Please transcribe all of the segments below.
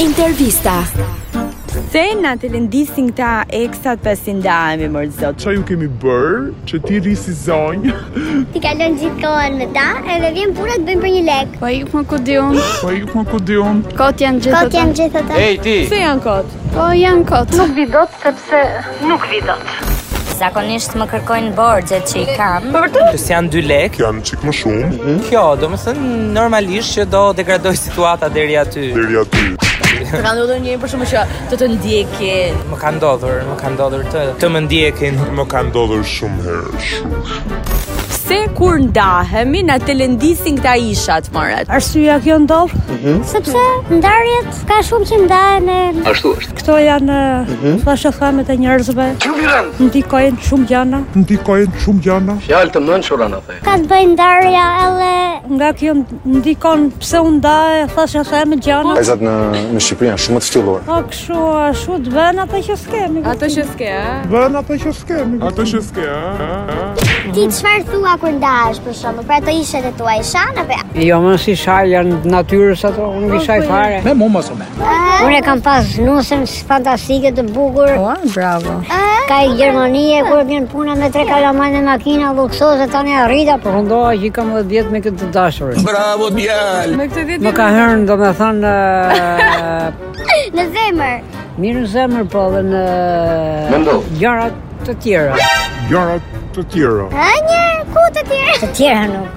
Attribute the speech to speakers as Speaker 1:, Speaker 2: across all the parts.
Speaker 1: Intervista.
Speaker 2: Se na të lëndisin këta eksat pasin ndajme, mërë zot.
Speaker 3: Qa ju kemi bërë që ti ri si zonjë?
Speaker 4: Ti kalon gjithë kohën me ta, edhe vjen puna të bëjmë për një lek.
Speaker 5: Po ik më ku di unë,
Speaker 3: Po i më ku di unë.
Speaker 5: kot janë gjithë
Speaker 4: Kot janë gjithë ata.
Speaker 2: Se janë kotë?
Speaker 5: Po janë kot. Nuk vi dot sepse
Speaker 6: Zakonisht më kërkojnë borxhet që i kam.
Speaker 7: Plus janë 2 lek. Mhm.
Speaker 3: Janë qik më shumë,
Speaker 7: Kjo, domethënë normalisht që do degradoj situata deri aty.
Speaker 3: deri aty.
Speaker 8: Ka ndodhur njëri për shkakun që të të ndjekin.
Speaker 7: Më ka ndodhur, më ka ndodhur të të më ndjekin.
Speaker 3: Më ka ndodhur shumë herë, shumë.
Speaker 2: Se kur ndahemi, na të lëndisin këta ishat, mërët.
Speaker 9: Arsyeja kjo ndodh,
Speaker 4: Sepse ndarjet ka shumë që ndahen e
Speaker 9: këto janë thashë thamet e njerëzve. Ndikojnë shumë gjana.
Speaker 3: Ndikojnë shumë gjana.
Speaker 4: ka të bëjnë ndarja edhe
Speaker 9: Nga kjo ndikon pse u ndaje thashë thamet gjana.
Speaker 10: Vajzat në në Shqipëri janë shumë të ftylluara.
Speaker 9: Po kështu ashtu të bën ato që s'kemi.
Speaker 2: Ato që s'ke, a?
Speaker 3: Vën ato që s'kemi. Ato që s'ke, a?
Speaker 4: ti çfarë thua kur ndahesh për shkakun. Pra ato ishet e tua i shan apo?
Speaker 9: Jo, më si shaj janë natyrës ato, unë nuk i shaj fare.
Speaker 4: Unë kam pas nusën fantastike të bukur.
Speaker 5: Ua, bravo.
Speaker 4: Ka i Gjermanie kur vjen puna me tre kalamaj në makina luksoze tani arrita po.
Speaker 9: Përfundova që i kam 10 vjet me këtë të dashurin.
Speaker 2: Me këtë ditë
Speaker 9: Më ka hërën, do me thënë,
Speaker 4: Në zemër.
Speaker 9: mirë në zemër, po dhe në gjarat të tjera.
Speaker 3: Gjarat të tjera.
Speaker 4: A një ku të tjerë?
Speaker 5: Të tjera nuk.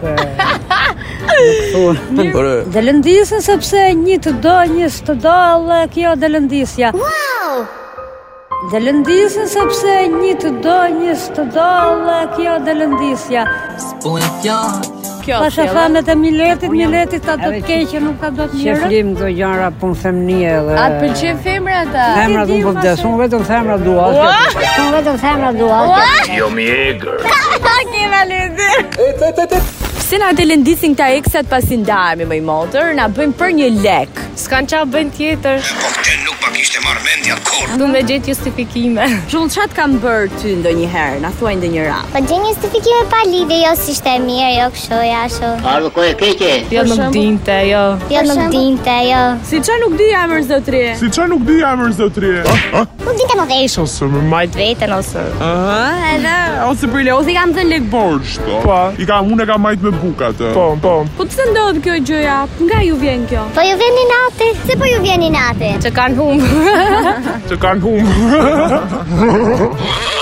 Speaker 9: Dhe lëndisën sepse një të do, një s'të do, dhe kjo dhe lëndisja.
Speaker 4: Wow!
Speaker 9: Dhe lëndisën sepse një të do, një s'të do, dhe kjo dhe lëndisja.
Speaker 2: kjo
Speaker 9: Pasha
Speaker 2: sjella.
Speaker 9: thamet e miletit, miletit ta do të keqe, nuk ta do të mirë. Që flim të gjara punë femnije dhe...
Speaker 2: A të pëlqen femra ta?
Speaker 9: Femrat unë po vdes, unë vetëm femrat dua.
Speaker 4: Unë vetëm femra dua.
Speaker 2: Pse na të lëndisin këta eksat pasin ndajme, më i motër, na bëjmë për një lek.
Speaker 5: S'kan qa bën tjetër. Po këtë nuk pa kishte marrë mendja kur. Du me gjetë justifikime.
Speaker 2: Shumë çat kam bërë ty ndonjëherë, na thuaj ndonjë rast.
Speaker 4: Po gjen justifikime pa lidhje, jo si ishte mirë, jo kështu, ja ashtu.
Speaker 5: Jo nuk dinte, jo.
Speaker 4: Jo nuk dinte, jo.
Speaker 2: Si çfarë nuk di emër zotri?
Speaker 3: Si qa nuk di jamër, zotri?
Speaker 4: Nuk dinte më vesh.
Speaker 3: Ose më majtë
Speaker 5: Vetën ose
Speaker 2: Edhe
Speaker 3: Ose për leo
Speaker 2: Othi kam thënë lek
Speaker 3: borç, po. Po, i kam unë e kam majtë me buka të. Po, po.
Speaker 2: Po pse ndodh kjo gjëja? Nga ju vjen kjo?
Speaker 4: Po ju vjeni nati? Se po ju vjeni nati?
Speaker 5: që kanë humbur.
Speaker 3: Që kanë humë.